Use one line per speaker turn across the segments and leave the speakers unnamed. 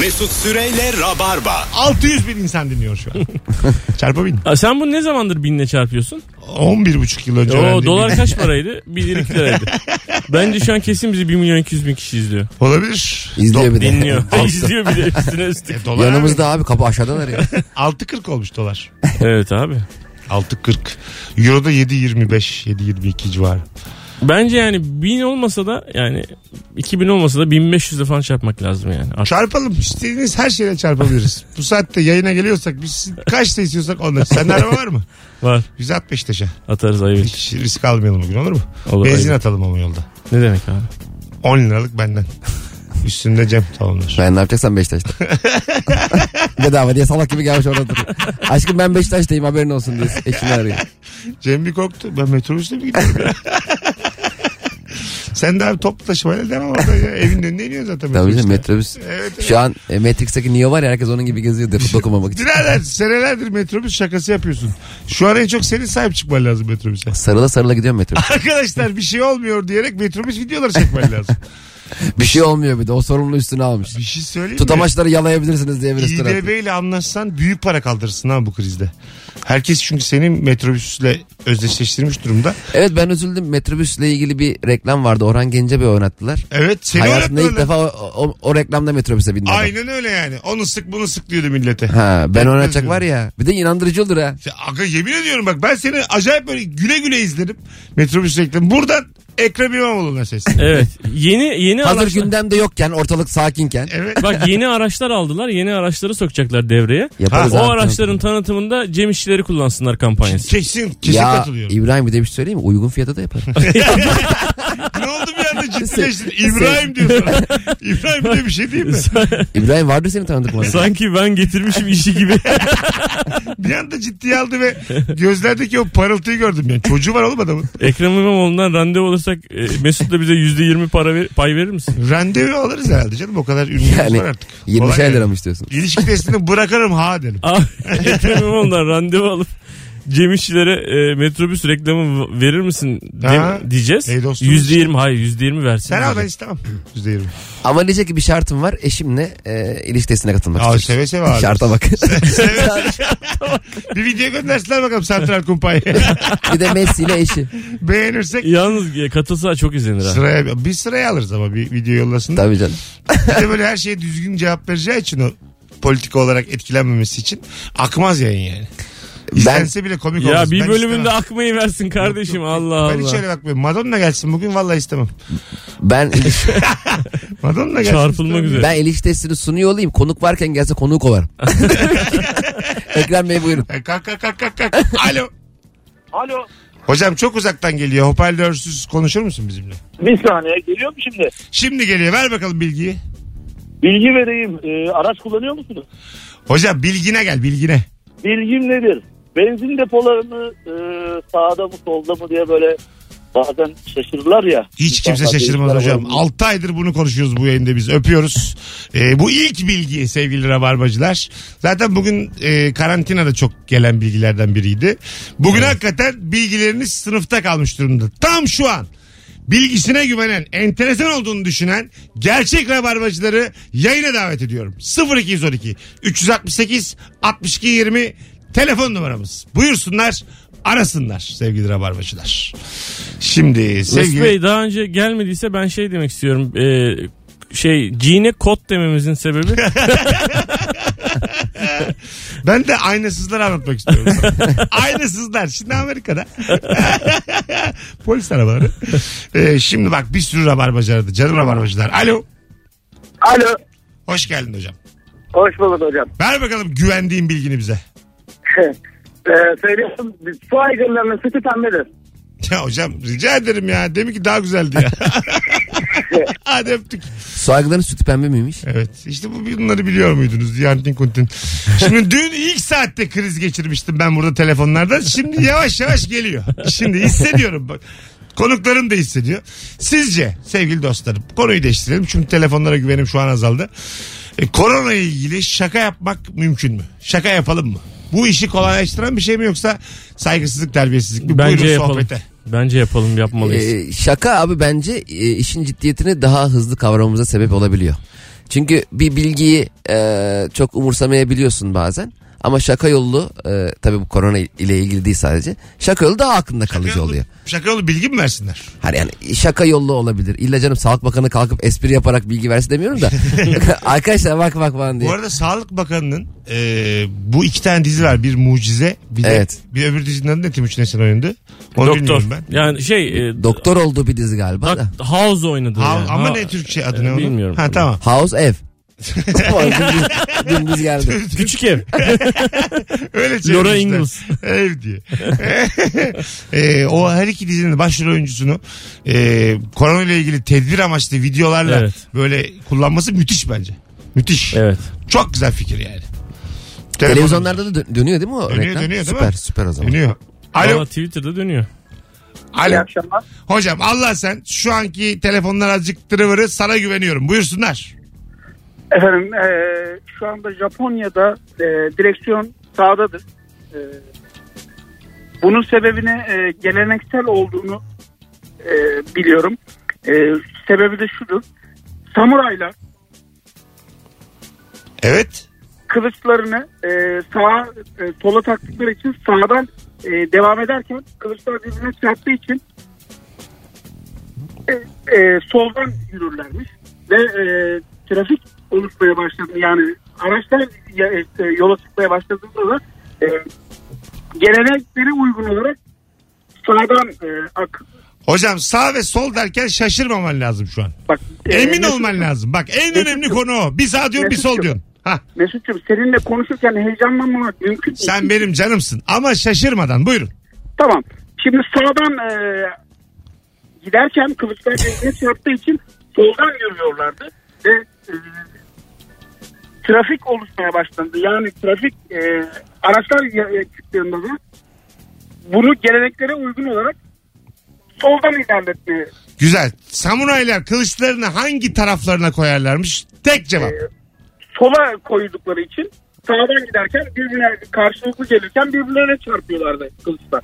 Mesut Süreyle Rabarba.
600 bin insan dinliyor şu an. Çarpı bin.
Ha, sen bunu ne zamandır binle çarpıyorsun?
11,5 yıl önce
O
öğrendiğim
dolar
bir-
kaç paraydı? 1 lira 2 liraydı. Bence şu an kesin bizi 1 milyon 200 bin kişi izliyor.
Olabilir.
İzliyor bir de.
Dinliyor.
Altta.
İzliyor bir de üstüne üstlük.
E, dolar
Yanımızda abi kapı aşağıdan arıyor.
abi. 6.40 olmuş dolar.
Evet abi.
6.40. Euro da 7.25, 7.22 civarı.
Bence yani 1000 olmasa da yani 2000 olmasa da 1500 de falan çarpmak lazım yani. Artık
Çarpalım. İstediğiniz her şeyle çarpabiliriz. Bu saatte yayına geliyorsak biz kaçta istiyorsak onda. Sende araba var mı?
var.
165'e.
Atarız ayıp.
Hiç risk almayalım bugün olur mu?
Olur,
Benzin
ayıp.
atalım ama yolda.
Ne demek abi?
10 liralık benden. Üstünde Cem tamamlar.
Ben ne yapacaksam Beşiktaş'ta. Bedava diye salak gibi gelmiş orada duruyor. Aşkım ben Beşiktaş'tayım haberin olsun diye eşini arıyor.
Cem bir korktu. Ben metrobüsle mi gidiyorum ya? Sen de abi toplu taşımayla devam orada ya. Evin önüne iniyor zaten
Tabii
metrobüste.
canım metrobüs. Şu an e, Matrix'teki Neo var ya herkes onun gibi geziyor depo dokunmamak için.
Birader senelerdir metrobüs şakası yapıyorsun. Şu an en çok senin sahip çıkman lazım metrobüse.
Sarıla sarıla gidiyorum metrobüs.
Arkadaşlar bir şey olmuyor diyerek metrobüs videoları çekmen lazım.
Bir şey olmuyor bir de o sorumlu üstüne almış.
Bir şey söyleyeyim mi?
Tutamaçları yalayabilirsiniz diye bir üstüne
İDB ile anlaşsan büyük para kaldırırsın ha bu krizde. Herkes çünkü seni metrobüsle özdeşleştirmiş durumda.
Evet ben üzüldüm. Metrobüsle ilgili bir reklam vardı. Orhan Gencebe'yi oynattılar.
Evet seni
Hayatımda ilk
öğretmenler-
defa o, o- o reklamda metrobüse bindim.
Aynen öyle yani. Onu sık bunu sık diyordu millete.
Ha, ben oynatacak
Özür
var ya. Bir de inandırıcı olur ha.
Ya Aga yemin ediyorum bak ben seni acayip böyle güle güle izlerim. Metrobüs reklamı. Buradan Ekrem İmamoğlu'na ses.
Evet. Yeni yeni
Hazır
araçlar.
gündemde yokken ortalık sakinken
Evet.
Bak yeni araçlar aldılar. Yeni araçları sokacaklar devreye.
yaparız
O
abi.
araçların tanıtımında Cem İşçileri kullansınlar kampanyası.
Kesin, kesin
Ya
katılıyorum.
İbrahim bir de bir şey söyleyeyim mi? Uygun fiyata da yaparım.
ne oldu bir anda ciddileştin? İbrahim diyor sana. İbrahim de bir şey değil mi?
İbrahim vardır senin tanıdık mı?
Sanki ben getirmişim işi gibi.
Bir anda ciddiye aldı ve gözlerdeki o parıltıyı gördüm yani. Çocuğu var oğlum adamın.
Ekrem İmamoğlu'ndan randevu olursak e, Mesut da bize %20 para ver- pay verir misin?
Randevu alırız herhalde canım. O kadar ünlümüz
Yani
var artık.
20
Kolay
şey
yani.
lira mı istiyorsun?
İlişki testini bırakırım ha derim.
Aa, Ekrem İmamoğlu'ndan randevu alıp Cem İşçilere e, metrobüs reklamı v- verir misin de-
Ha.
diyeceğiz.
Ey dostum.
Yüzde yirmi hayır yüzde yirmi versin.
Sen al ben
Abi.
istemem. Yüzde yirmi.
Ama diyecek ki bir şartım var. Eşimle e, ilişkisine katılmak
Al
istiyoruz.
seve seve abi.
Şarta bak.
Bir video göndersinler bakalım Santral Kumpay'a.
bir de Messi ile eşi.
Beğenirsek
Yalnız e, katılsa çok izlenir ha.
sıraya, bir sıraya alırız ama bir video yollasın.
Tabii canım.
Bir de böyle her şeye düzgün cevap vereceği için o politik olarak etkilenmemesi için akmaz yayın yani. İstense bile komik
Ya
olmaz.
bir
Ben
bölümünde
istemem.
akmayı versin kardeşim Allah
Ben hiç
Allah.
öyle şey bakmıyorum. Madonna gelsin bugün vallahi istemem.
Ben iliş-
Madonna gelsin.
Çarpılmak
istemem.
üzere.
ben ilişkisini sunuyor olayım. Konuk varken gelse konuğu kovarım. Ekrem Bey buyurun.
E, Kalk kalk kalk kalk. kalk. Alo.
Alo.
Hocam çok uzaktan geliyor. Hoparlörsüz konuşur musun bizimle?
Bir saniye geliyor mu şimdi?
Şimdi geliyor. Ver bakalım bilgiyi.
Bilgi vereyim. Ee, araç kullanıyor musunuz?
Hocam bilgine gel bilgine.
Bilgim nedir? Benzin depolarını e, sağda mı solda mı diye böyle bazen şaşırırlar ya.
Hiç kimse
İnsanlar
şaşırmaz
değişikler
hocam.
var.
6 aydır bunu konuşuyoruz bu yayında biz. Öpüyoruz. Ee, bu ilk bilgi sevgili rabarbacılar. Zaten bugün e, karantinada çok gelen bilgilerden biriydi. Bugün hakikaten bilgileriniz sınıfta kalmış durumda. Tam şu an bilgisine güvenen, enteresan olduğunu düşünen gerçek rabarbacıları yayına davet ediyorum. 0212 368 62 20 telefon numaramız. Buyursunlar, arasınlar sevgili rabarbacılar. Şimdi
Mesut
sevgili...
Bey daha önce gelmediyse ben şey demek istiyorum. E, şey G'ne kod dememizin sebebi
Ben de aynasızları anlatmak istiyorum. sana. aynasızlar. Şimdi Amerika'da. Polis arabaları. Ee, şimdi bak bir sürü rabarbacı aradı. Canım rabarbacılar. Alo.
Alo.
Hoş geldin hocam.
Hoş bulduk hocam.
Ver bakalım güvendiğin bilgini bize.
ee, söylüyorum. Su aygırlarının sütü pembedir.
Ya hocam rica ederim ya. Demin ki daha güzeldi ya. Hadi öptük.
Soygıların sütü pembe miymiş?
Evet. İşte bu bunları biliyor muydunuz? Yantin kuntin. Şimdi dün ilk saatte kriz geçirmiştim ben burada telefonlarda. Şimdi yavaş yavaş geliyor. Şimdi hissediyorum bak. Konuklarım da hissediyor. Sizce sevgili dostlarım konuyu değiştirelim. Çünkü telefonlara güvenim şu an azaldı. E, korona ile ilgili şaka yapmak mümkün mü? Şaka yapalım mı? Bu işi kolaylaştıran bir şey mi yoksa saygısızlık terbiyesizlik mi?
bence
Buyurun
yapalım.
sohbete.
Bence yapalım yapmalıyız.
e, Ee, şaka abi bence e, işin ciddiyetini daha hızlı kavramamıza sebep olabiliyor. Çünkü bir bilgiyi e, çok umursamayabiliyorsun bazen. Ama şaka yollu e, tabii bu korona ile ilgili değil sadece. Şaka yollu daha aklında kalıcı
Şakalı-
oluyor.
Şakalı bilgi mi versinler?
Hani yani şaka yollu olabilir. İlla canım Sağlık Bakanı kalkıp espri yaparak bilgi versin demiyorum da. Arkadaşlar bak bak falan diye.
Bu arada Sağlık Bakanı'nın e, bu iki tane dizi var. Bir Mucize. Bir, de-
Evet.
bir öbür dizinin adı ne Timuçin Esen oynadı? Onu
Doktor.
bilmiyorum ben.
Yani şey e,
Doktor olduğu bir dizi galiba da.
Doc- House oynadı.
Ha-
yani.
ama
Ha-
ne Türkçe adı
e,
ne onun?
bilmiyorum.
Ha tamam.
House ev. dümdüz, dümdüz geldi.
Küçük ev.
Öyle
Laura
çevirmişler.
Ingalls.
Ev diye. Ee, o her iki dizinin başrol oyuncusunu e, korona ile ilgili tedbir amaçlı videolarla
Evet.
böyle kullanması müthiş bence. Müthiş.
Evet.
Çok güzel fikir yani. Telefon-
Televizyonlarda da dö- dönüyor değil mi o
Dönüyor,
reklam?
dönüyor değil mi?
süper süper o zaman.
dönüyor. Alo,
Ama Twitter'da dönüyor.
İyi
alo.
akşamlar.
Hocam Allah sen şu anki telefonlar azıcık tırıvırı sana güveniyorum. Buyursunlar.
Efendim eee, şu anda Japonya'da eee, direksiyon sağdadır. Eee, bunun sebebini eee, geleneksel olduğunu eee, biliyorum. Eee, sebebi de şudur. Samuraylar
Evet.
kılıçlarını eee sağa eee, sola taktıkları için sağdan eee, devam ederken kılıçlar birbirine çarptığı için eee, eee, soldan yürürlermiş ve eee, trafik oluşmaya başladı yani araçlar ya- e, yola çıkmaya başladığında da eee geleneklere uygun olarak sağdan eee, ak
Hocam sağ ve sol derken şaşırmaman lazım şu an.
bak eee,
Emin
Mesut-
olman lazım. Bak en önemli
Mesut'cum.
konu o. Bir sağ diyorsun bir sol
Mesut'cum.
diyorsun. Hah.
Mesut'cum seninle konuşurken heyecanlanmamak mümkün değil.
Sen benim canımsın ama şaşırmadan buyurun.
Tamam. Şimdi sağdan e, giderken kılıçlar birbirine çarptığı için soldan yürüyorlardı ve e, trafik oluşmaya başlandı. Yani trafik e, araçlar ya- e, çıktığında da bunu geleneklere uygun olarak soldan ilerletmeye
Güzel. Samuraylar kılıçlarını hangi taraflarına koyarlarmış? Tek cevap.
Ee, sola koydukları için sağdan giderken birbirine karşılıklı gelirken birbirlerine çarpıyorlardı kılıçlar.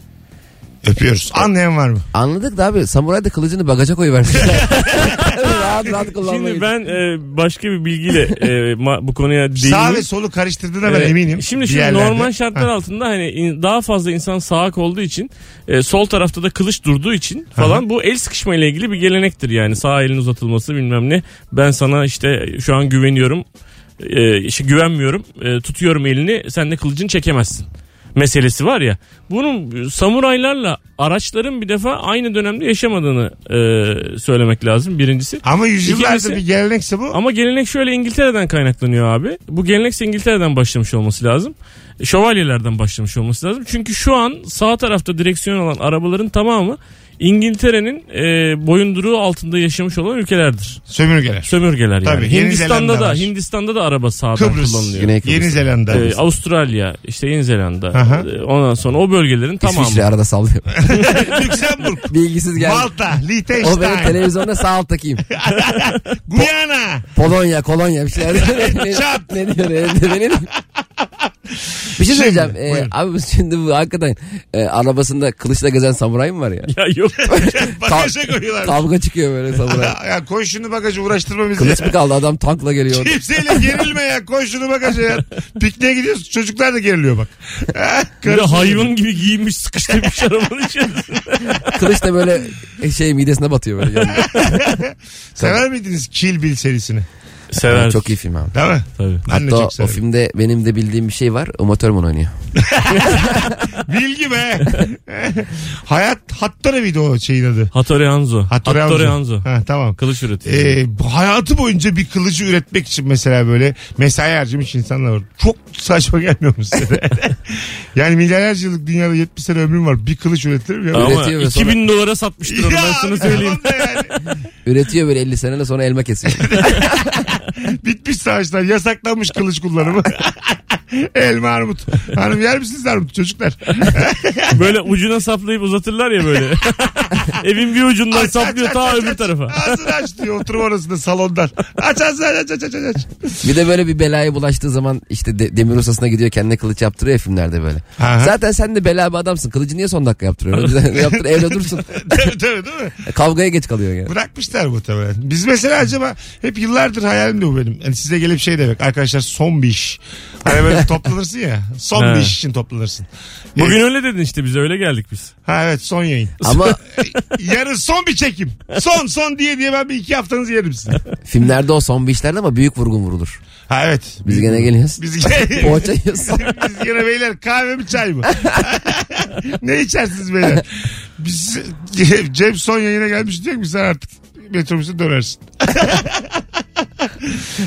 Öpüyoruz. Anlayan var mı?
Anladık da abi samuray da kılıcını bagaja koyuversin. rahat rahat kullanmayı.
Şimdi ben e, başka bir bilgiyle e, ma- bu konuya değineyim.
Sağ ve solu karıştırdığına ben
Evet.
eminim.
Şimdi
Bir
şimdi
yerlerde.
normal şartlar
Ha.
altında hani in- daha fazla insan sağak olduğu için e, sol tarafta da kılıç durduğu için falan bu el sıkışma ile ilgili bir gelenektir yani sağ elin uzatılması bilmem ne. Ben sana işte şu an güveniyorum. E, işte güvenmiyorum. E, tutuyorum elini. Sen de kılıcını çekemezsin meselesi var ya. Bunun samuraylarla araçların bir defa aynı dönemde yaşamadığını e, söylemek lazım birincisi.
Ama yüzyıllardır
İkincisi-
bir gelenekse bu.
Ama gelenek şöyle İngiltere'den kaynaklanıyor abi. Bu gelenek İngiltere'den başlamış olması lazım. E, Şövalyelerden başlamış olması lazım. Çünkü şu an sağ tarafta direksiyon olan arabaların tamamı İngiltere'nin e, boyunduruğu altında yaşamış olan ülkelerdir.
Sömürgeler.
Sömürgeler
Tabii,
yani.
Yeni
Hindistan'da
Zelanda
da
var.
Hindistan'da da araba sağdan
Kıbrıs.
kullanılıyor.
Güney Kıbrıs.
Yeni Zelanda.
E, Avustralya, işte Yeni Zelanda.
Aha.
e, Ondan sonra o bölgelerin tamamı.
İsviçre şey arada sallıyor.
Ee,
Lüksemburg.
Bilgisiz geldi.
Malta.
O benim
Liechtenstein.
televizyonda sağ alttaki
Guyana.
Polonya, Kolonya bir şeyler. ne,
Çat.
ne diyor? Ne diyor? Ne diyor? bir şey
Şimdi,
söyleyeceğim. Ee,
buyurun.
abi biz şimdi bu hakikaten e, arabasında kılıçla gezen samuray mı var ya?
Ya yok.
Bagaja koyuyorlar.
Kavga çıkıyor böyle samuray.
ya koy şunu bagaja uğraştırma bizi.
Kılıç
ya.
mı kaldı adam tankla geliyor.
Kimseyle gerilme ya. Koy şunu bagaja ya. Pikniğe gidiyoruz. Çocuklar da geriliyor bak.
Bir de
Karısı-
hayvan gibi giyinmiş sıkıştırmış arabanın içerisinde.
Kılıç da böyle e, şey midesine batıyor böyle. Yani.
Sever miydiniz Kill Bill serisini?
Sever.
Çok iyi film abi.
Değil mi?
Tabii.
Ben de
Hatta
çok
o
severim.
filmde benim de bildiğim bir şey var. Uma Thurman oynuyor.
Bilgi be. Hayat Hattori miydi o şeyin adı?
Hattori Hanzo.
Hattori
Hattori, Hanzo.
Ha, tamam.
Kılıç üretiyor.
Ee, bu hayatı boyunca bir kılıcı üretmek için mesela böyle mesai harcamış insanlar var. Çok saçma gelmiyor mu size de? yani milyarlarca yıllık dünyada 70 sene ömrüm var. Bir kılıç üretilir mi? ya?
Ama
üretiyor ve
2000 dolara satmıştır onu ben sana
abi,
söyleyeyim.
tamam da yani.
Üretiyor böyle 50 senede sonra elma kesiyor.
Bitmiş savaşlar. Yasaklanmış kılıç kullanımı. Elma armut. Hanım yer misiniz armut çocuklar?
Böyle ucuna saplayıp uzatırlar ya böyle. Evin bir ucundan
Aç, aç,
saplıyor
aç,
ta
aç,
öbür
aç.
tarafa.
Ağzını aç diyor oturma odasında salondan. Aç aç aç aç aç aç. aç.
Bir de böyle bir belaya bulaştığı zaman işte de- demir ustasına gidiyor kendine kılıç yaptırıyor ya filmlerde böyle.
Aha.
Zaten sen de bela bir adamsın. Kılıcı niye son dakika yaptırıyorsun? Yaptır evde dursun. E,
tabii tabii değil mi?
Kavgaya geç kalıyor yani.
Bırakmışlar muhtemelen. Biz mesela acaba hep yıllardır hayalim de bu benim. Yani size gelip şey demek arkadaşlar son bir iş. Hani böyle toplanırsın ya. Son
Ha.
bir iş için toplanırsın.
Bugün
Ee,
öyle dedin işte biz öyle geldik biz.
ha evet son yayın. E,
Ama
Yarın son bir çekim. Son son diye diye ben bir iki haftanızı yerim size.
filmlerde o son bir işlerde ama büyük vurgun vurulur.
Ha evet.
Biz gene geliyoruz.
Biz gene,
Poğaça yiyoruz.
biz gene beyler kahve mi çay mı? ne içersiniz beyler? Biz, Cem son yayına gelmiş diyor ki sen artık metrobüse dönersin.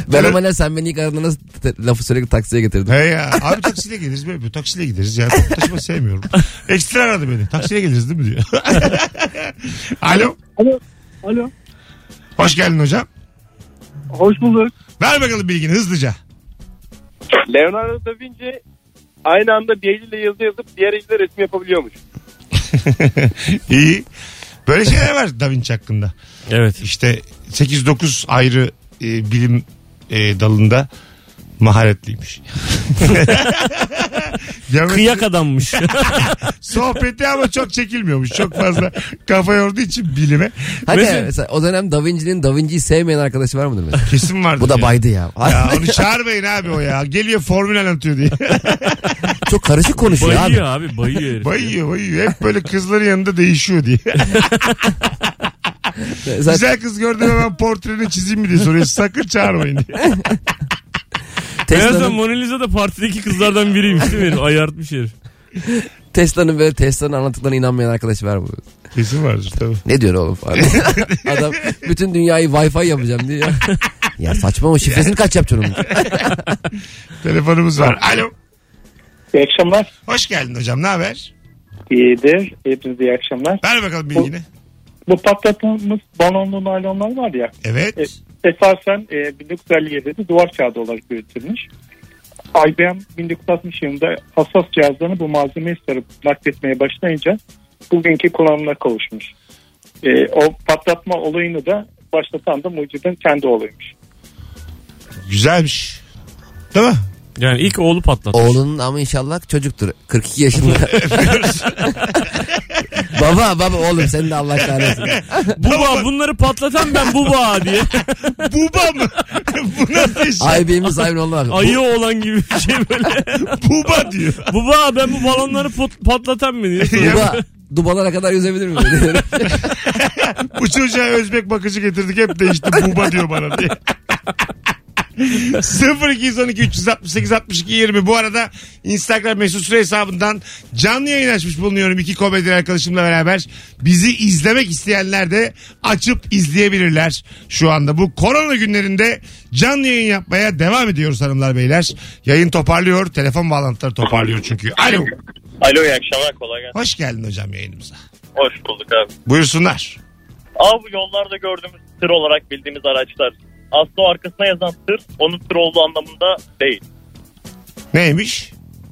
ben ama ne sen beni ilk aradığında nasıl te- lafı sürekli taksiye getirdin.
He ya. Abi taksiyle geliriz böyle. Taksiyle gideriz ya. Toplu taşıma sevmiyorum. Ekstra aradı beni. Taksiyle geliriz değil mi diyor. Alo.
Alo. Alo.
Hoş geldin hocam.
Hoş bulduk.
Ver bakalım bilgini hızlıca.
Leonardo da Vinci aynı anda bir eliyle yazı yazıp diğer eliyle resim yapabiliyormuş.
İyi. Böyle şeyler var Da Vinci hakkında.
Evet.
İşte 8-9 ayrı e, bilim e, dalında maharetliymiş. Geometri-
Kıyak adammış.
sohbeti ama çok çekilmiyormuş. Çok fazla kafa yorduğu için bilime.
Hadi
Mesela-
ya, mesela o dönem Da Vinci'nin Da Vinci'yi sevmeyen arkadaşı var mıdır mesela?
Kesin vardı.
Bu da baydı ya.
Ya onu çağırmayın abi o ya. Geliyor formül anlatıyor diye.
Çok karışık konuşuyor abi.
bayıyor abi bayıyor herif.
Bayıyor bayıyor. Hep böyle kızların yanında değişiyor diye.
Zaten
Güzel kız gördüm hemen portreni çizeyim mi diye soruyor. Sakın çağırmayın diye.
Meğerse
Tesla'nın,
Mona Lisa da partideki kızlardan biriymiş değil mi? herif? Ayartmış herif.
Tesla'nın böyle Tesla'nın anlattıklarına inanmayan arkadaşı var mı?
Kesin vardır tabii.
Ne diyor oğlum falan. Adam bütün dünyayı Wi-Fi yapacağım diyor. ya. Ya saçma o şifresini kaç yapacaksın onun?
Telefonumuz var. Alo.
İyi akşamlar.
Hoş geldin hocam. Ne haber?
İyidir. Hepinize iyi akşamlar.
Ver bakalım bilgini.
Bu patlattığımız balonlu naylonlar var ya.
Evet.
Esasen e, 1957'de duvar kağıdı olarak üretilmiş. IBM 1960 yılında hassas cihazlarını bu malzemeyi sarıp nakletmeye başlayınca bugünkü kullanımına kavuşmuş. E, o patlatma olayını da başlatan da mucidin kendi olayıymış.
Güzelmiş. Değil mi?
Yani ilk oğlu patlattı.
Oğlunun ama inşallah çocuktur. 42 yaşında. baba baba oğlum sen de Allah kahretsin.
Buba bunları patlatan ben buba diye.
Buba mı? Bu nasıl iş?
IBM'in sahibine olma bak.
Ayı oğlan gibi bir şey böyle.
Buba diyor.
buba ben bu balonları pot- patlatan mı diye. soruyor.
Baba dubalara kadar yüzebilir mi?
Bu çocuğa Özbek bakıcı getirdik hep değişti. Buba diyor bana diye. 0212 368 62 20 bu arada Instagram mesut süre hesabından canlı yayın açmış bulunuyorum iki komedi arkadaşımla beraber bizi izlemek isteyenler de açıp izleyebilirler şu anda bu korona günlerinde canlı yayın yapmaya devam ediyoruz hanımlar beyler yayın toparlıyor telefon bağlantıları toparlıyor çünkü alo
Alo iyi akşamlar kolay gelsin.
hoş geldin hocam yayınımıza
Hoş bulduk abi.
buyursunlar
Abi bu yollarda gördüğümüz tır olarak bildiğimiz araçlar. Aslında o arkasına yazan tır onun tır olduğu anlamında değil.
neymiş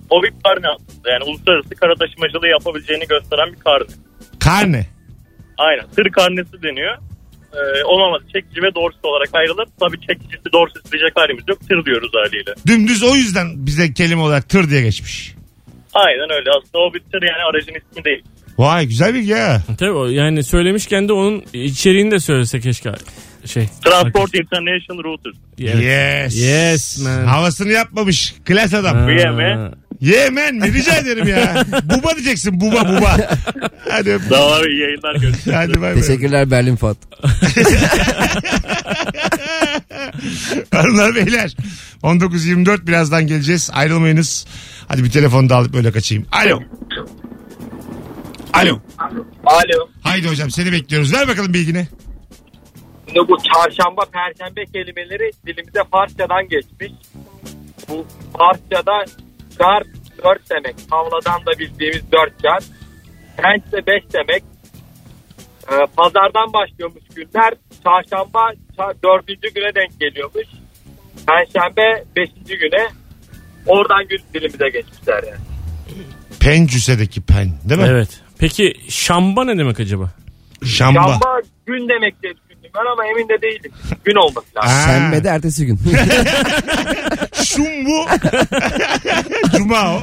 O bir karne aslında yani uluslararası kara taşımacılığı yapabileceğini gösteren bir karne.
karne
Aynen tır karnesi deniyor. Ee, olamaz çekici ve doğrusu olarak ayrılır. Tabii çekicisi doğrusu diyecek halimiz yok tır diyoruz haliyle.
Dümdüz o yüzden bize kelime olarak tır diye geçmiş.
Aynen öyle aslında o bir tır yani aracın ismi değil.
Vay güzel bilgi ha.
Tabii o yani söylemişken de onun içeriğini de söylese keşke. Şey.
Transport International Router.
Evet.
Yes.
Yes, man.
Havasını yapmamış. Klas adam.
Ha.
Yemen
mi?
mi? Rica ederim ya. buba diyeceksin. Buba buba. Hadi öp.
Daha abi iyi yayınlar görüşürüz.
Hadi bay bay.
Teşekkürler Berlin Fuat.
Hanımlar beyler. 19.24 birazdan geleceğiz. Ayrılmayınız. Hadi bir telefonu da alıp böyle kaçayım. Alo. Alo.
Alo.
Haydi hocam seni bekliyoruz. Ver bakalım bilgini.
Şimdi bu çarşamba, perşembe kelimeleri dilimize Farsçadan geçmiş. Bu Farsçada gar dört demek. Tavladan da bildiğimiz dört gar. Penç de beş demek. Ee, pazardan başlıyormuş günler. Çarşamba ça- dördüncü güne denk geliyormuş. Perşembe beşinci güne. Oradan gün dilimize geçmişler yani.
Pencüse'deki pen değil mi?
Evet. Peki şamba ne demek acaba?
Şamba.
Şamba gün demek diye düşündüm ben ama emin de değilim. Gün olması lazım.
Ha.
Sen de ertesi gün.
Şum bu. Cuma o.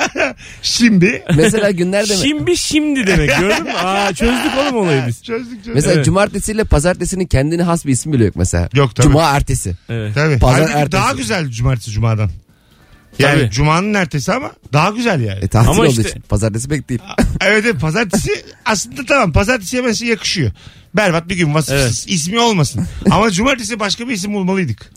Şimdi.
Mesela günler demek.
Şimdi şimdi demek gördün mü? Aa çözdük oğlum olayı biz.
Çözdük çözdük.
Mesela
Evet.
cumartesiyle pazartesinin kendine has bir ismi bile yok mesela.
Yok, tabii.
Cuma ertesi.
Evet.
Tabii.
Pazar
Halbuki
ertesi.
Daha güzel cumartesi cumadan. Yani
Tabii.
cumanın ertesi ama daha güzel yani.
E, tatil
Ama
olduğu
işte-
için. Pazartesi pek değil.
evet evet pazartesi aslında tamam pazartesiye mesela yakışıyor. Berbat bir gün vasıfsız ismi olmasın. Ama cumartesi başka bir isim bulmalıydık.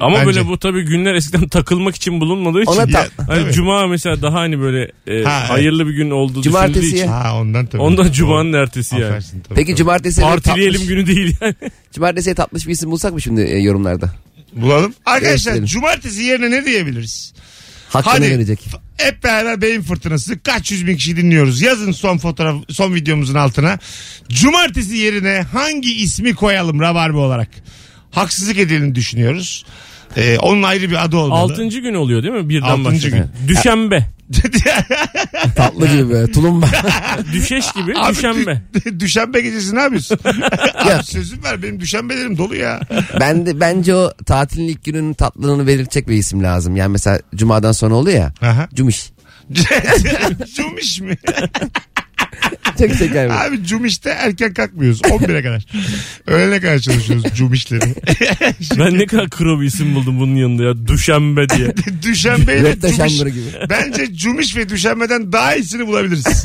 Ama
Bence.
böyle bu tabii günler eskiden takılmak için bulunmadığı için.
Ona tak.
Hani
Tabii.
Cuma mesela daha hani böyle e,
Ha, evet.
hayırlı bir gün olduğu
Cumartesiye.
düşünüldüğü için.
Ha ondan tabii.
Ondan Cuma'nın ertesi yani.
Aferin, tabii,
Peki
tabii.
cumartesi
Partileyelim günü değil yani.
Cumartesiye tatlış bir isim bulsak mı şimdi e, yorumlarda?
Bulalım. Arkadaşlar
Değiştirelim.
cumartesi yerine ne diyebiliriz?
Hakkını
Hadi.
verecek.
Hep beraber beyin fırtınası. Kaç yüz bin kişi dinliyoruz. Yazın son fotoğraf, son videomuzun altına. Cumartesi yerine hangi ismi koyalım Rabarbe olarak? Haksızlık edildiğini düşünüyoruz. Ee, onun ayrı bir adı olmalı.
Altıncı gün oluyor değil mi? Birden
Altıncı
başlıyor. Düşembe.
Tatlı gibi böyle tulumba.
Düşeş gibi
Abi,
düşembe.
dü- düşembe gecesi ne yapıyorsun? Abi sözüm ver benim düşembelerim dolu ya.
ben de bence o tatilin ilk gününün tatlılığını belirtecek bir isim lazım. Yani mesela cumadan sonra oluyor ya.
Aha.
Cumiş.
Cumiş mi?
Çok şeker bir.
Abi cumişte erken kalkmıyoruz. 11'e kadar. Öğlene kadar çalışıyoruz cumişleri.
Ben ne kadar kro bir isim buldum bunun yanında ya. Düşembe diye.
Düşembeyle
Röpte
cumiş.
şambırı gibi.
Bence cumiş ve düşenmeden daha iyisini bulabiliriz.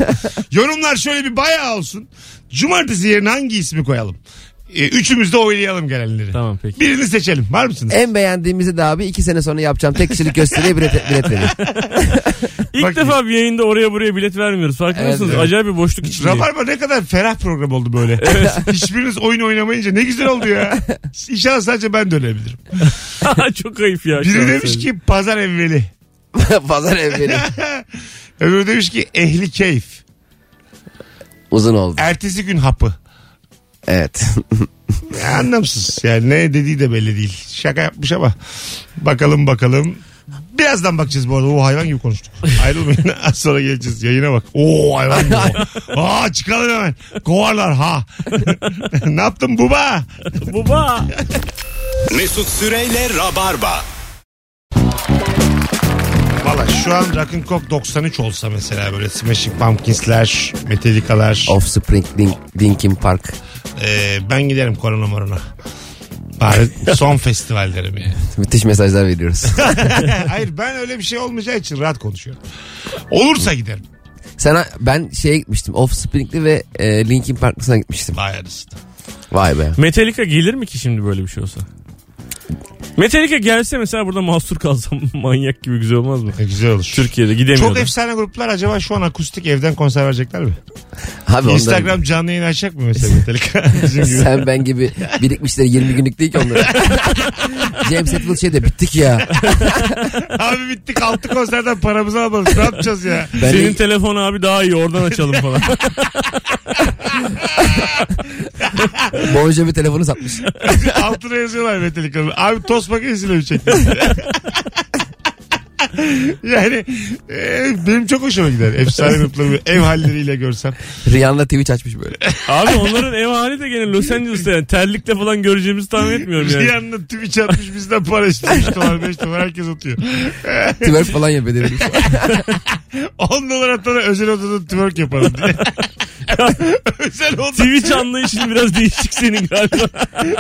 Yorumlar şöyle bir bayağı olsun. Cumartesi yerine hangi ismi koyalım? Ee, üçümüz de oylayalım gelenleri.
Tamam, peki.
Birini seçelim. Var mısınız?
En beğendiğimizi de abi iki sene sonra yapacağım tek kişilik gösteriye bilet, bilet veriyor.
İlk
Bak-
defa bir yayında oraya buraya bilet vermiyoruz. Farkında
Evet,
mısınız?
evet.
Acayip bir boşluk içinde.
Rabarba ne kadar ferah program oldu böyle. Hiçbiriniz oyun oynamayınca ne güzel oldu ya. İnşallah sadece ben de ölebilirim.
Çok ayıp ya. şu an
Biri demiş
söyleyeyim.
ki pazar evveli.
Pazar evleri.
Öbürü demiş ki ehli keyif.
Uzun oldu.
Ertesi gün hapı.
Evet.
Ya E, Anlamsız. Yani ne dediği de belli değil. Şaka yapmış ama. Bakalım bakalım. Birazdan bakacağız bu arada. O hayvan gibi konuştuk. Ayrılmayın. Az sonra geleceğiz. Yayına bak. Oo hayvan gibi. Aa çıkalım hemen. Kovarlar ha. ne yaptın buba?
Baba.
Mesut Süreyle Rabarba.
Valla şu an Rock'n Coke 93 olsa mesela böyle Smashing Pumpkins'ler, Metallica'lar.
Offspring, Link, Linkin Park.
Ee, ben giderim korona morona. Bari son festivallerim yani.
Müthiş mesajlar veriyoruz.
Hayır ben öyle bir şey olmayacağı için rahat konuşuyorum. Olursa giderim.
Sen ben şeye gitmiştim. Offspring'li ve e, Linkin Park'lısına gitmiştim.
Vay arasında.
Vay be.
Metallica gelir mi ki şimdi böyle bir şey olsa? Metallica gelse mesela burada mahsur kalsam manyak gibi güzel olmaz mı?
E, güzel olur.
Türkiye'de gidemiyorum.
Çok efsane gruplar acaba şu an akustik evden konser verecekler mi?
Abi onların-
Instagram canlı yayın açacak mı mesela Metallica? Bizim gibi.
Sen ben gibi birikmişleri 20 günlük değil ki onları. James Hetfield şey de bittik ya.
Abi bittik 6 konserden paramızı almadık. Ne yapacağız ya?
Ben
Senin
de-
telefon abi daha iyi oradan açalım falan.
Bonjour bir telefonu satmış.
Altına yazıyorlar Metallica'nın. Abi toz makinesiyle mi çektin? yani e, benim çok hoşuma gider. Efsane grupları ev halleriyle görsem.
Rihanna Twitch açmış böyle.
abi onların ev hali de gene Los Angeles'ta yani. Terlikle falan göreceğimizi tahmin etmiyorum
Bir
yani.
yandan tüm iç atmış bizden para istemiş. 3 dolar 5 dolar herkes atıyor.
Twerk falan yapıyor dedim. E,
10 dolar atana özel odada twerk yapalım diye. özel odada.
Twitch anlayışın biraz değişik senin galiba.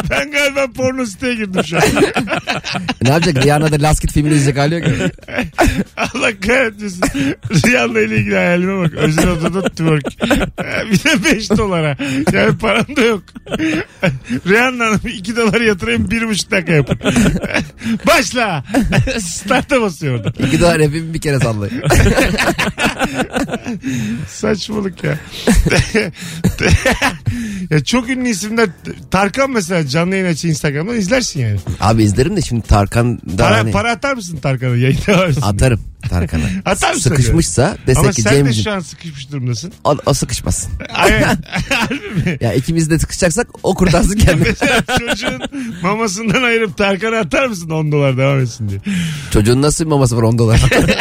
Ben galiba porno siteye girdim şu an.
ne yapacak? Rihanna da Last Kid filmini izleyecek hali yok. ya.
Allah kahretmesin. Rihanna ile ilgili hayalime bak. Özel odada twerk. Bir de 5 dolara. Yani param da yok. Rihanna Hanım 2 dolar yatırayım 1,5 dakika yapın. Başla. Start'a basıyor orada.
İki dolar hepimi bir kere sallıyor.
Saçmalık ya. Ya çok ünlü isimler Tarkan mesela canlı yayın açıyor Instagram'dan izlersin yani.
Abi izlerim de şimdi Tarkan da
Para,
hani-
para atar mısın Tarkan'a yayında varsın?
atarım Tarkan'a.
Atar mısın?
Sıkışmışsa
Ama
desek ki
sen de
Cem'ciğim
şu an sıkışmış durumdasın.
o, o sıkışmasın.
Aynen.
Ya ikimiz de sıkışacaksak o kurtarsın kendini.
Mesela çocuğun mamasından ayırıp Tarkan'a atar mısın 10 dolar devam etsin diye.
Çocuğun nasıl bir maması var 10 dolar?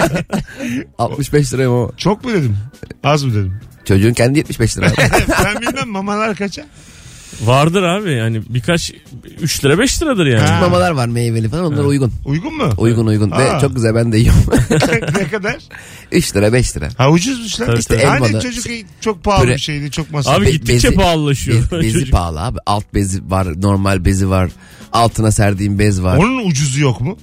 65 liraya mama.
Çok mu dedim? Az mı dedim?
Çocuğun kendi 75 lira.
ben bilmem mamalar kaça?
Vardır abi yani birkaç 3 lira 5 liradır yani.
Ha.
Mamalar var meyveli falan onlar uygun.
Uygun mu?
Uygun uygun.
Aa.
Ve çok güzel ben de yiyorum.
ne kadar?
3 lira 5 lira.
Ha ucuzmuş lan.
Tabii,
İşte
tabii.
Hani
Elmalı.
çocuk çok pahalı
Püre.
bir şeydi çok masraflı.
Abi
Be-
gittikçe
bezi-
pahalılaşıyor.
Be- bezi
Çocuk-
pahalı abi. Alt bezi var, normal bezi var. Altına serdiğim bez var.
Onun ucuzu yok mu?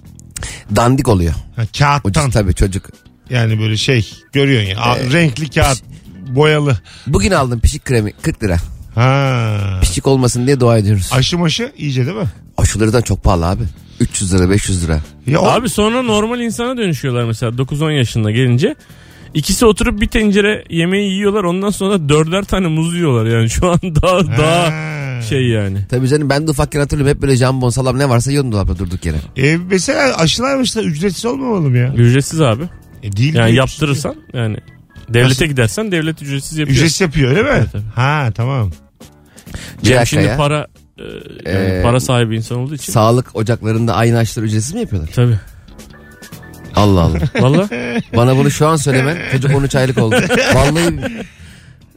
Dandik oluyor.
Ha,
Ucuz Ee,
kağıttan.
tabii çocuk.
Yani böyle şey görüyorsun ya. a- renkli kağıt. Boyalı.
Bugün aldım pişik kremi 40 lira.
Ha.
Pişik olmasın diye dua ediyoruz.
Aşı maşı iyice değil mi?
Aşıları da çok pahalı abi. 300 lira 500 lira.
Ya o-
Abi sonra normal insana dönüşüyorlar mesela 9-10 yaşında gelince. İkisi oturup bir tencere yemeği yiyorlar ondan sonra dörder tane muz yiyorlar yani şu an daha daha
Ha.
şey yani.
Tabii canım ben de ufakken hatırlıyorum hep böyle jambon salam ne varsa yiyordum dolapta durduk yere.
E, mesela aşılar başta ücretsiz olmamalı mı ya?
Ücretsiz abi.
E, değil
Yani
mi?
yaptırırsan yani
Nasıl?
devlete gidersen devlet ücretsiz yapıyor.
Ücretsiz yapıyor öyle mi?
Evet, tabii.
Ha tamam.
Bir
Cem
dakika
şimdi
ya.
para e, yani
Ee,
para sahibi insan olduğu için.
Sağlık ocaklarında aynı aşıları ücretsiz mi yapıyorlar?
Tabii.
Allah Allah.
Valla
Bana bunu şu an söylemen çocuk 13 aylık oldu. Vallahi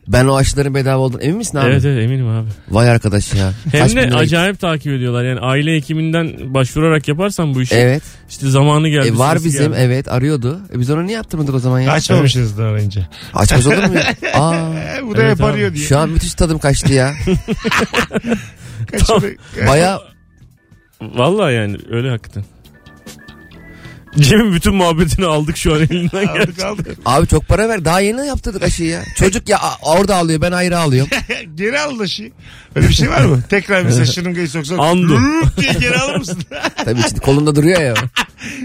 ben o aşıların bedava olduğunu emin misin abi?
evet, evet eminim abi.
Vay arkadaş ya.
Hem
Kaç bin
de
lira-
acayip takip ediyorlar. Yani aile hekiminden başvurarak yaparsan bu işi
Evet.
işte zamanı geldi.
E, var
sırası
bizim
geldi.
evet arıyordu. E, biz onu niye yaptırmadık o zaman ya?
Açmamışsınızdır arayınca.
Açmaz olur mu ya? Aa,
E, bu da
Evet
hep arıyor diye.
şu an müthiş tadım kaçtı ya.
Kaçırdı-
Baya e-
Valla yani öyle hakikaten. Cem'in bütün muhabbetini aldık şu an elinden geldi.
Aldık aldık.
abi çok para ver. Daha yeni yaptırdık aşıyı ya. Çocuk ya a- orada ağlıyor ben ayrı ağlıyorum.
Geri al da şey. Öyle bir şey var mı? Tekrar mesela şırıngayı soksan.
Andu.
"Rrrt" diye geri alır mısın?
Tabii şimdi kolunda duruyor ya.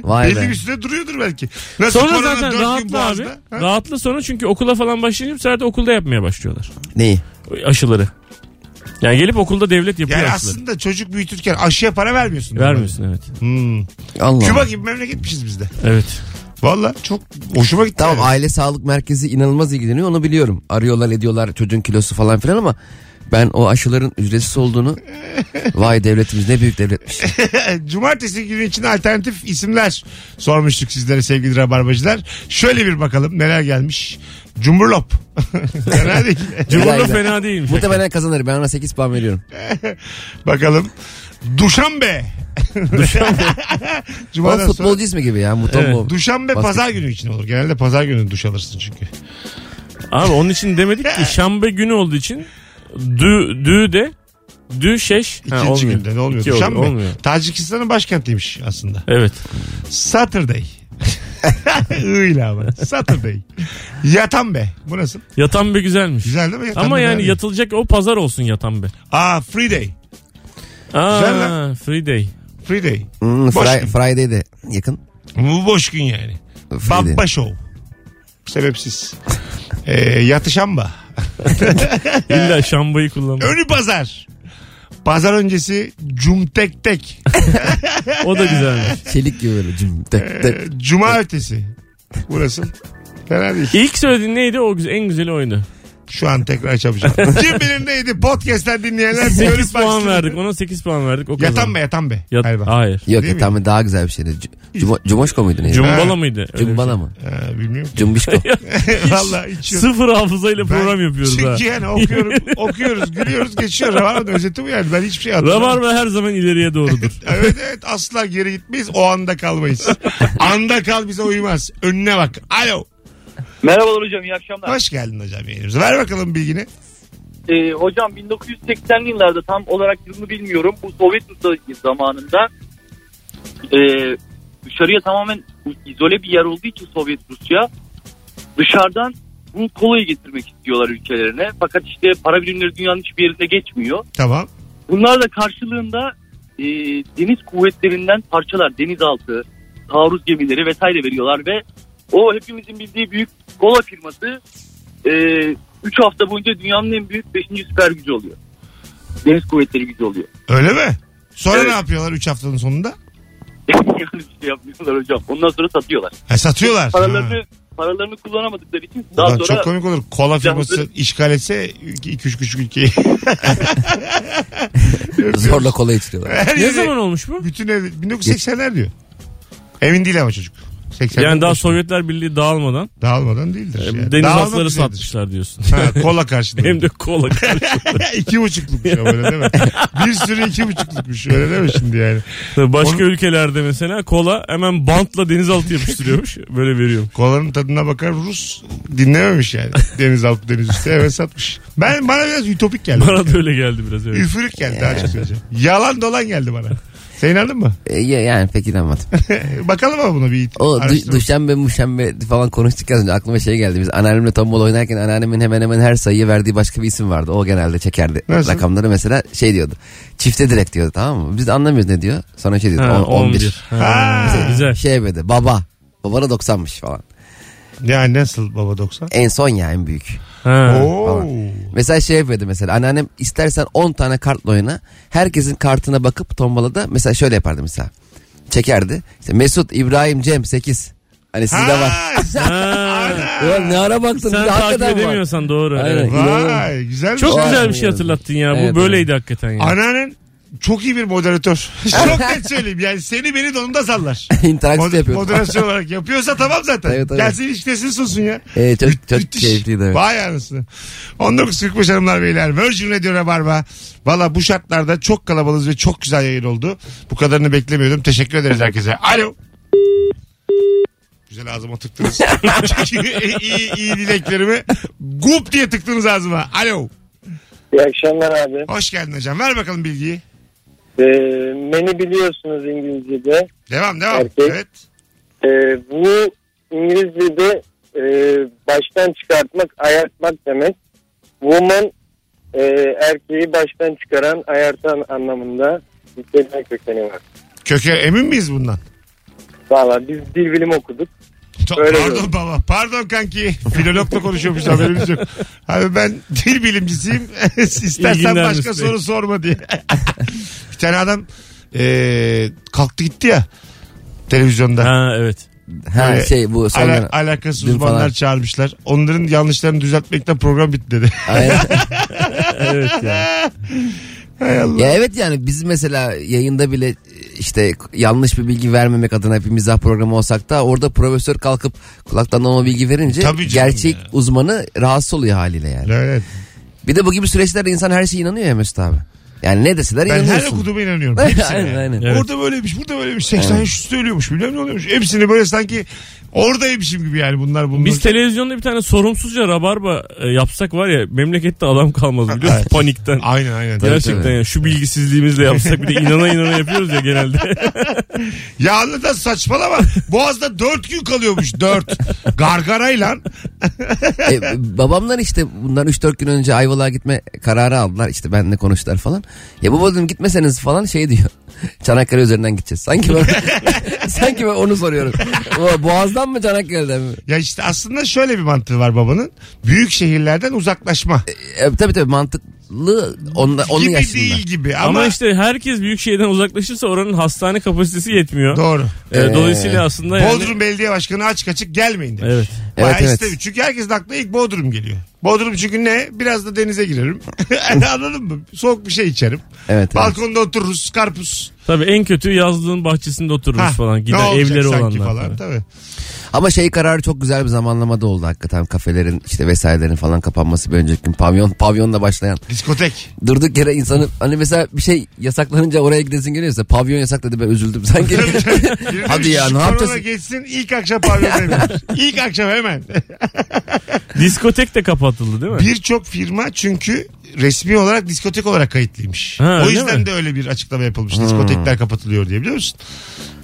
Vay
Belli
be.
bir süre duruyordur belki. Nasıl
Sonra
korona dört
zaten
gün
rahatla abi.
boğazda, ha?
Rahatla sonra çünkü okula falan başlayınca bu sefer de okulda yapmaya başlıyorlar.
Neyi?
Aşıları. Yani gelip okulda devlet yapıyor
Yani
aşıları.
aslında çocuk büyütürken aşıya para vermiyorsun.
Vermiyorsun evet.
Hmm.
Allah.
Küba gibi memleketmişiz biz de.
Evet.
Valla çok hoşuma gitti.
Tamam
yani.
aile sağlık merkezi inanılmaz ilgileniyor onu biliyorum. Arıyorlar ediyorlar çocuğun kilosu falan filan ama ben o aşıların ücretsiz olduğunu vay devletimiz ne büyük devletmiş.
E, Cumartesi günü için alternatif isimler sormuştuk sizlere sevgili rabarbacılar. Şöyle bir bakalım neler gelmiş. Cumburlop. Fena değil.
Cumhurlu
Helal be.
fena değilmiş.
Muhtemelen kazanır ben ona 8 puan veriyorum.
bakalım. Duşanbe.
O
Cuma'dan sonra.
futbolcu ismi gibi ya Mutombo.
Duşanbe
Basket.
pazar günü için olur. Genelde pazar günü duş alırsın çünkü.
Abi onun için demedik ki şambe günü olduğu için dü, dü de dü şeş. Ha,
İkinci
olmuyor.
günde ne olmuyor?
İki
Duşanbe.
oluyor, olmuyor.
Tacikistan'ın başkentiymiş aslında.
Evet.
Saturday. Öyle ama. Saturday. Yatan be. Bu nasıl?
Yatan be güzelmiş.
Güzel değil mi? Yatan
Ama
be
yani
beğendim.
yatılacak o pazar olsun yatan be.
Aa free day. Güzel
Aa,
lan.
free day.
Free day.
Hmm,
Boş
Fri-
gün.
Friday de yakın.
Bu boş gün yani.
Friday.
Bamba show. Sebepsiz. ee, yatışamba. Ee,
İlla şambayı kullan.
Önü pazar. Pazar öncesi cumtek tek.
O da güzelmiş.
Çelik gibi böyle cüm, tek, tek.
Ee, Cuma ötesi. Burası. Fena değil.
İlk söylediğin neydi? O güzel, en güzeli oydu.
Şu an tekrar çapacağım. Kim bilir neydi? Podcast'ten dinleyenler
8
dönüp
puan
baksın.
verdik. Ona 8 puan verdik. O kazandı.
Yatan be yatan be.
Yat-
Galiba.
Hayır.
Yok
Değil mi?
tamam daha güzel bir şeydi. C- Cum- Cumoşko muydu neydi?
Cumbala mıydı? Öyle bir şey.
Cumbala mı?
Ee, bilmiyorum.
Cumbişko.
Vallahi içiyorum.
Sıfır hafızayla
Ben-
program yapıyoruz
çünkü
ha.
yani okuyorum, okuyoruz, gülüyoruz, geçiyor. Rabarba özeti bu yani. Ben hiçbir şey hatırlamıyorum.
Rabarba her zaman ileriye doğrudur.
Evet evet asla geri gitmeyiz. O anda kalmayız. anda kal bize uymaz. Önüne bak. Alo.
Merhabalar hocam iyi akşamlar.
Hoş geldin hocam yayınımıza. Ver bakalım bilgini.
Ee, hocam 1980'li yıllarda tam olarak yılını bilmiyorum. Bu Sovyet Rusya zamanında e, dışarıya tamamen izole bir yer olduğu için Sovyet Rusya dışarıdan bu kolayı getirmek istiyorlar ülkelerine. Fakat işte para birimleri dünyanın hiçbir yerinde geçmiyor.
Tamam.
Bunlar da karşılığında e, deniz kuvvetlerinden parçalar, denizaltı, taarruz gemileri vesaire veriyorlar ve o hepimizin bildiği büyük e, kola firması 3 hafta boyunca dünyanın en büyük 5. süper gücü oluyor. deniz kuvvetleri gücü oluyor.
Öyle mi? Sonra
Evet.
ne yapıyorlar 3 haftanın sonunda?
yani bir şey yapmıyorlar hocam. Ondan sonra satıyorlar.
Ha, satıyorlar. Ha.
Paralarını paralarını kullanamadıkları için daha
Ulan
sonra
Çok komik olur. Kola
Canlı-
firması işgal etse 2-3 küçük ülkeyi.
Zorla kola içiriyorlar.
Her
Ne
yeri-
zaman olmuş bu?
Bütün ev 1980'ler diyor. Emin değil ama çocuk. 80'ler
Yani daha Sovyetler Birliği dağılmadan
dağılmadan değildir.
e,
yani.
deniz
Dağılmak
atları
güzeldir.
satmışlar diyorsun.
Ha, kola karşılığında.
Hem de kola.
iki buçuklukmuş ama öyle değil mi? Bir sürü iki buçuklukmuş öyle değil mi şimdi yani?
Başka
Onun-
ülkelerde mesela kola hemen bantla denizaltı yapıştırıyormuş. Böyle veriyor.
Kolanın tadına bakar Rus dinlememiş yani. Denizaltı deniz üstü hemen satmış. Ben, bana biraz ütopik geldi.
Bana da öyle geldi biraz. Evet.
Üfürük geldi daha açık söyleyeceğim. Yalan dolan geldi bana. Sen inandın mı?
E, ya- yani pek inanmadım.
Bakalım ama buna bir
O du-
araştırma.
duşembe muşembe falan konuştuk az önce aklıma şey geldi. Biz anneannemle tombol oynarken anneannemin hemen hemen her sayıya verdiği başka bir isim vardı. O genelde çekerdi
Nasıl?
rakamları mesela şey diyordu. Çifte direkt diyordu tamam mı? Biz de anlamıyoruz ne diyor. Sonra şey diyordu.
Ha,
11. 11.
Ha.
Ha, güzel.
Şey böyle baba. Baba da 90'mış falan.
Ya nasıl baba 90?
En son ya en büyük.
Ha.
Oo.
Mesela şey yapıyordu mesela anneannem istersen 10 tane kartla oyna. Herkesin kartına bakıp tombalada mesela şöyle yapardı mesela. Çekerdi. İşte Mesut, İbrahim, Cem 8. Hani sizde var.
Ha, sen- Ana.
Ulan ne ara baktın?
Sen
Bir de
takip
hakikaten var.
edemiyorsan doğru.
Aynen.
Evet.
Vay güzel.
Çok
Doğru.
güzel bir şey hatırlattın ya.
Evet,
Bu böyleydi hakikaten ya.
Anneannen çok iyi bir moderatör. Çok net söyleyeyim. Yani seni beni donunda sallar.
İnteraktif
Mod-
yapıyordu.
moderasyon olarak yapıyorsa tamam zaten.
Tabii, tabii.
Gelsin ilişkisini sunsun ya.
Evet, Ee, çok-
Müth-
çok keyifliydi, evet.
Vay anasını. 19.45 hanımlar beyler. Virgin Radio Rabarba. Valla bu şartlarda çok kalabalığız ve çok güzel yayın oldu. Bu kadarını beklemiyordum. Teşekkür ederiz herkese. Alo. Güzel ağzıma tıktınız. iyi, iyi dileklerimi gup diye tıktınız ağzıma. Alo.
İyi akşamlar abi.
Hoş geldin hocam. Ver bakalım bilgiyi.
Ee, meni biliyorsunuz İngilizce'de.
Devam devam.
Erkek.
Evet.
Ee, bu İngilizce'de e, baştan çıkartmak, ayartmak demek. Woman e, erkeği baştan çıkaran, ayartan anlamında bir kelime kökeni var.
Köker emin miyiz bundan?
Valla biz dil bilim okuduk.
Ta-
Öyle
pardon
diyorum.
baba. Pardon kanki. Filologla konuşuyormuş haberimiz yok. Abi ben dil bilimcisiyim.
İyi
İstersen
günler
başka
Mesut Bey.
soru sorma diye. bir tane adam eee, kalktı gitti ya televizyonda.
Ha evet.
Ha
Böyle
şey bu
Ala-
sonra.
alakasız
dün
uzmanlar
falan.
çağırmışlar. Onların yanlışlarını düzeltmekten program bitti dedi.
Aynen.
Evet ya.
Hay Allah.
ya evet yani biz mesela yayında bile işte yanlış bir bilgi vermemek adına hep bir mizah programı olsak da orada profesör kalkıp kulaktan dolma bilgi verince
Tabii canım
gerçek
ya.
uzmanı rahatsız oluyor haliyle yani.
Evet.
Bir de bu gibi süreçlerde insan her şeye inanıyor ya Mesut abi. Yani ne deseler
Ben her
inanıyorsun.
okuduğuma inanıyorum. Hepsine.
Aynen, aynen.
Evet.
Orada böyleymiş, burada böyleymiş. 80 yaş üstü ölüyormuş. Bilmem ne oluyormuş. Hepsini böyle sanki oradaymışım gibi yani bunlar bunlar.
Biz televizyonda bir tane sorumsuzca rabarba e, yapsak var ya memlekette adam kalmaz biliyor musun?
Evet.
Panikten.
Aynen aynen.
Gerçekten
tabii.
ya şu bilgisizliğimizle yapsak bir de inana inana yapıyoruz ya genelde.
Ya anlatan saçmalama. Boğaz'da dört gün kalıyormuş dört. Gargarayla.
E, babamlar işte bundan 3-4 gün önce Ayvalık'a gitme kararı aldılar. İişte benimle konuştular falan. Ya baba dedim gitmeseniz falan şey diyor. Çanakkale üzerinden gideceğiz. Sanki ben, sanki ben onu soruyorum. Baba, Boğaz'dan mı Çanakkale'den mi?
Ya işte aslında şöyle bir mantığı var babanın. Büyük şehirlerden uzaklaşma.
E, tabii tabii mantıklı onda, onun
gibi
yaşında.
değil gibi ama,
Ama, işte herkes büyük şeyden uzaklaşırsa oranın hastane kapasitesi yetmiyor.
doğru.
E, dolayısıyla aslında yani...
Bodrum Belediye Başkanı açık açık gelmeyin demiş.
Evet.
Bayağı
Evet, evet.
istemiyor. Çünkü herkesin aklına ilk Bodrum geliyor. Bodrum çünkü ne? Biraz da denize girerim. Anladın mı? Soğuk bir şey içerim.
Evet, evet.
Balkonda otururuz. Karpuz.
Tabii en kötü yazlığın bahçesinde otururuz
Ha,
falan.
ne
Gider
olacak
evleri
sanki
olanlar.
falan.
tabii.
Tabii.
Ama şey kararı çok güzel bir zamanlamada oldu hakikaten. Kafelerin işte vesairelerin falan kapanması bir önceki gün. Pavyon, pavyonla başlayan.
Diskotek.
Durduk yere insanın hani mesela bir şey yasaklanınca oraya gidesin geliyorsa pavyon yasak dedi ben üzüldüm sanki. Hadi ya,
Şu
ne yapacağız?
Korona geçsin ilk akşam pavyona iniyoruz. İlk akşam hemen.
Diskotek de kapatıldı değil mi?
Birçok firma çünkü resmi olarak diskotek olarak kayıtlıymış.
Ha,
o
öyle
yüzden
mi?
de öyle bir açıklama yapılmış. Diskotekler kapatılıyor diye biliyor musun?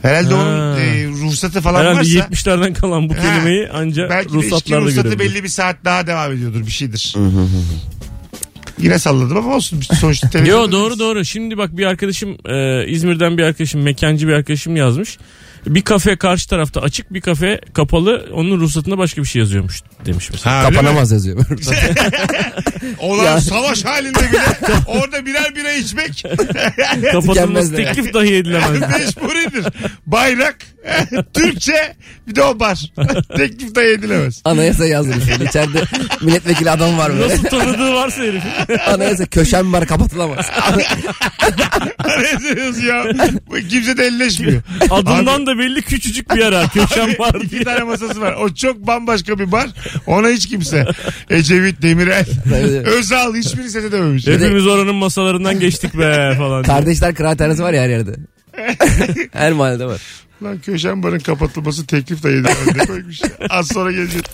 Herhalde
Ha.
onun e, ruhsatı falan
Herhalde
varsa
70'lerden kalan bu
Ha,
kelimeyi ancak
belki de içki
ruhsatlarda
ruhsatı
görebiliriz.
belli bir saat daha devam ediyordur bir şeydir. Yine salladım ama olsun. Sonuçta
Yo
televizyonda
doğru
biz-
doğru. Şimdi bak bir arkadaşım e, İzmir'den bir arkadaşım mekancı bir arkadaşım yazmış. bir kafe karşı tarafta açık bir kafe kapalı onun ruhsatında başka bir şey yazıyormuş demiş mesela.
Ha, öyle mi?
Kapanamaz yazıyor.
Olan
Ya.
savaş halinde bile orada birer bira içmek
Kapatılması
Tükenmez yani.
teklif dahi edilemez.
mecburidir. Bayrak, Türkçe bir de o bar. Teklif dahi edilemez.
Anayasa yazmış. Yani İçeride milletvekili adam var böyle.
Nasıl tanıdığı varsa herif.
Anayasa köşem var kapatılamaz.
Arıyorsunuz ya. Bu Kimse de elleşmiyor.
Adından da belli küçücük bir yer ha. Köşem
Abi,
var
İki
diye.
tane masası var. O çok bambaşka bir bar. Ona hiç kimse. Ecevit, Demirel,
evet.
Özal hiçbiri sese dememiş.
Hepimiz oranın masalarından geçtik be falan. diye.
Kardeşler kıraathanesi var ya her yerde. her mahallede var.
Lan köşen barın kapatılması teklif dahi edilemez. Ne koymuş. Az sonra geleceğiz.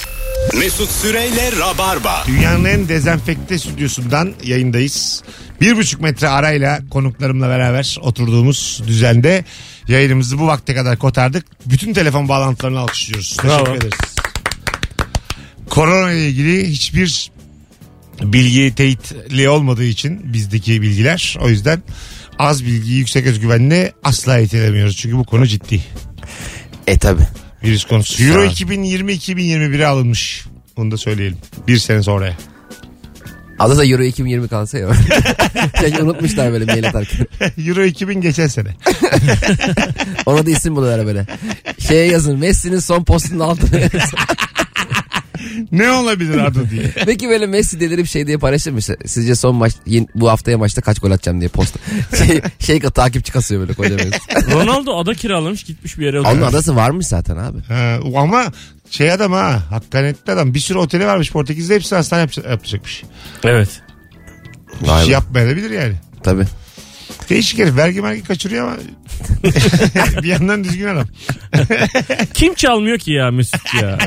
Mesut Süreyle Rabarba.
Dünyanın en dezenfekte stüdyosundan yayındayız. Bir buçuk metre arayla konuklarımla beraber oturduğumuz düzende yayınımızı bu vakte kadar kotardık. Bütün telefon bağlantılarını alkışlıyoruz. Teşekkür
Bravo.
ederiz. Korona ile ilgili hiçbir bilgi teyitli olmadığı için bizdeki bilgiler o yüzden az bilgiyi yüksek özgüvenle asla yetilemiyoruz. Çünkü bu konu ciddi.
E tabi.
Virüs konusu. Euro
Sağ ol.
2020-2021'e alınmış. Onu da söyleyelim. Bir sene sonraya.
Adı da Euro 2020 kalsa ya. Şey, unutmuşlar böyle mail atarken.
Euro 2000 geçen sene.
Ona da isim buluyorlar böyle. Şeye yazın Messi'nin son postunun altına yazın.
Ne olabilir adı diye.
Peki böyle Messi delirip şey diye paylaşırmış. Sizce son maç yeni- bu haftaya maçta kaç gol atacağım diye posta. Şey, şey takipçi kasıyor böyle koca Messi.
Ronaldo ada kiralamış gitmiş bir yere
Onun
oturmuş.
adası varmış zaten abi.
Ha, ama şey adam ha hakkaniyetli adam bir sürü oteli varmış Portekiz'de hepsini hastane yap- yapacakmış.
Evet.
Vay be.
Yapmayabilir yani.
Tabii.
Değişik herif vergi vergi kaçırıyor ama bir yandan düzgün adam.
Kim çalmıyor ki ya Mesut ya?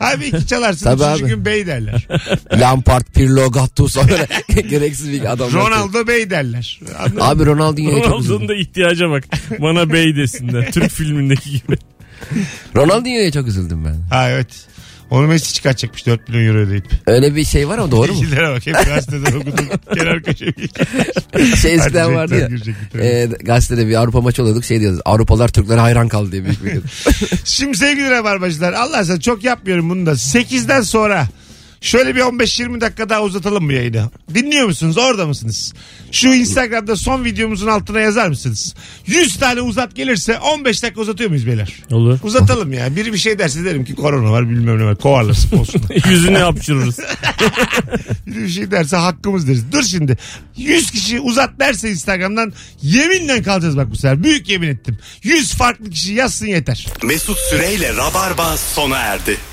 Abi iki çalarsın
Tabii
üçüncü
abi.
gün bey derler.
Lampard, Pirlo, Gattuso böyle gereksiz bir adam.
Ronaldo bey derler. Anladın mı?
Abi Ronaldinho'ya çok üzüldüm.
Ronaldo'nun da ihtiyaca bak. Bana bey desinler. Türk filmindeki gibi.
Ronaldinho'ya çok üzüldüm ben.
Ha evet. Onu Messi çıkartacakmış 4 milyon euro ödeyip.
Öyle bir şey var ama doğru mu?
Bilgilere bak hep gazetede okudum. Kenar köşe bilgi.
Şey eskiden
Hadi
vardı
Cenk
ya.
Gürecek bir tane.
E, gazetede bir Avrupa maçı oluyorduk şey diyoruz. Avrupalılar Türklere hayran kaldı diye büyük bir gün.
Şimdi sevgili Rabarbacılar Allah sen çok yapmıyorum bunu da. 8'den sonra şöyle bir 15-20 dakika daha uzatalım bu yayını. Dinliyor musunuz? Orada mısınız? Şu Instagram'da son videomuzun altına yazar mısınız? 100 tane uzat gelirse 15 dakika uzatıyor muyuz beyler?
Olur.
Uzatalım ya. Biri bir şey derse derim ki korona var bilmem ne var. Kovarlar sponsorunu.
Yüzünü hapşırırız.
Biri bir şey derse hakkımız deriz. Dur şimdi. 100 kişi uzat derse Instagram'dan yeminle kalacağız bak bu sefer. Büyük yemin ettim. 100 farklı kişi yazsın yeter.
Mesut Süreyle Rabarba sona erdi.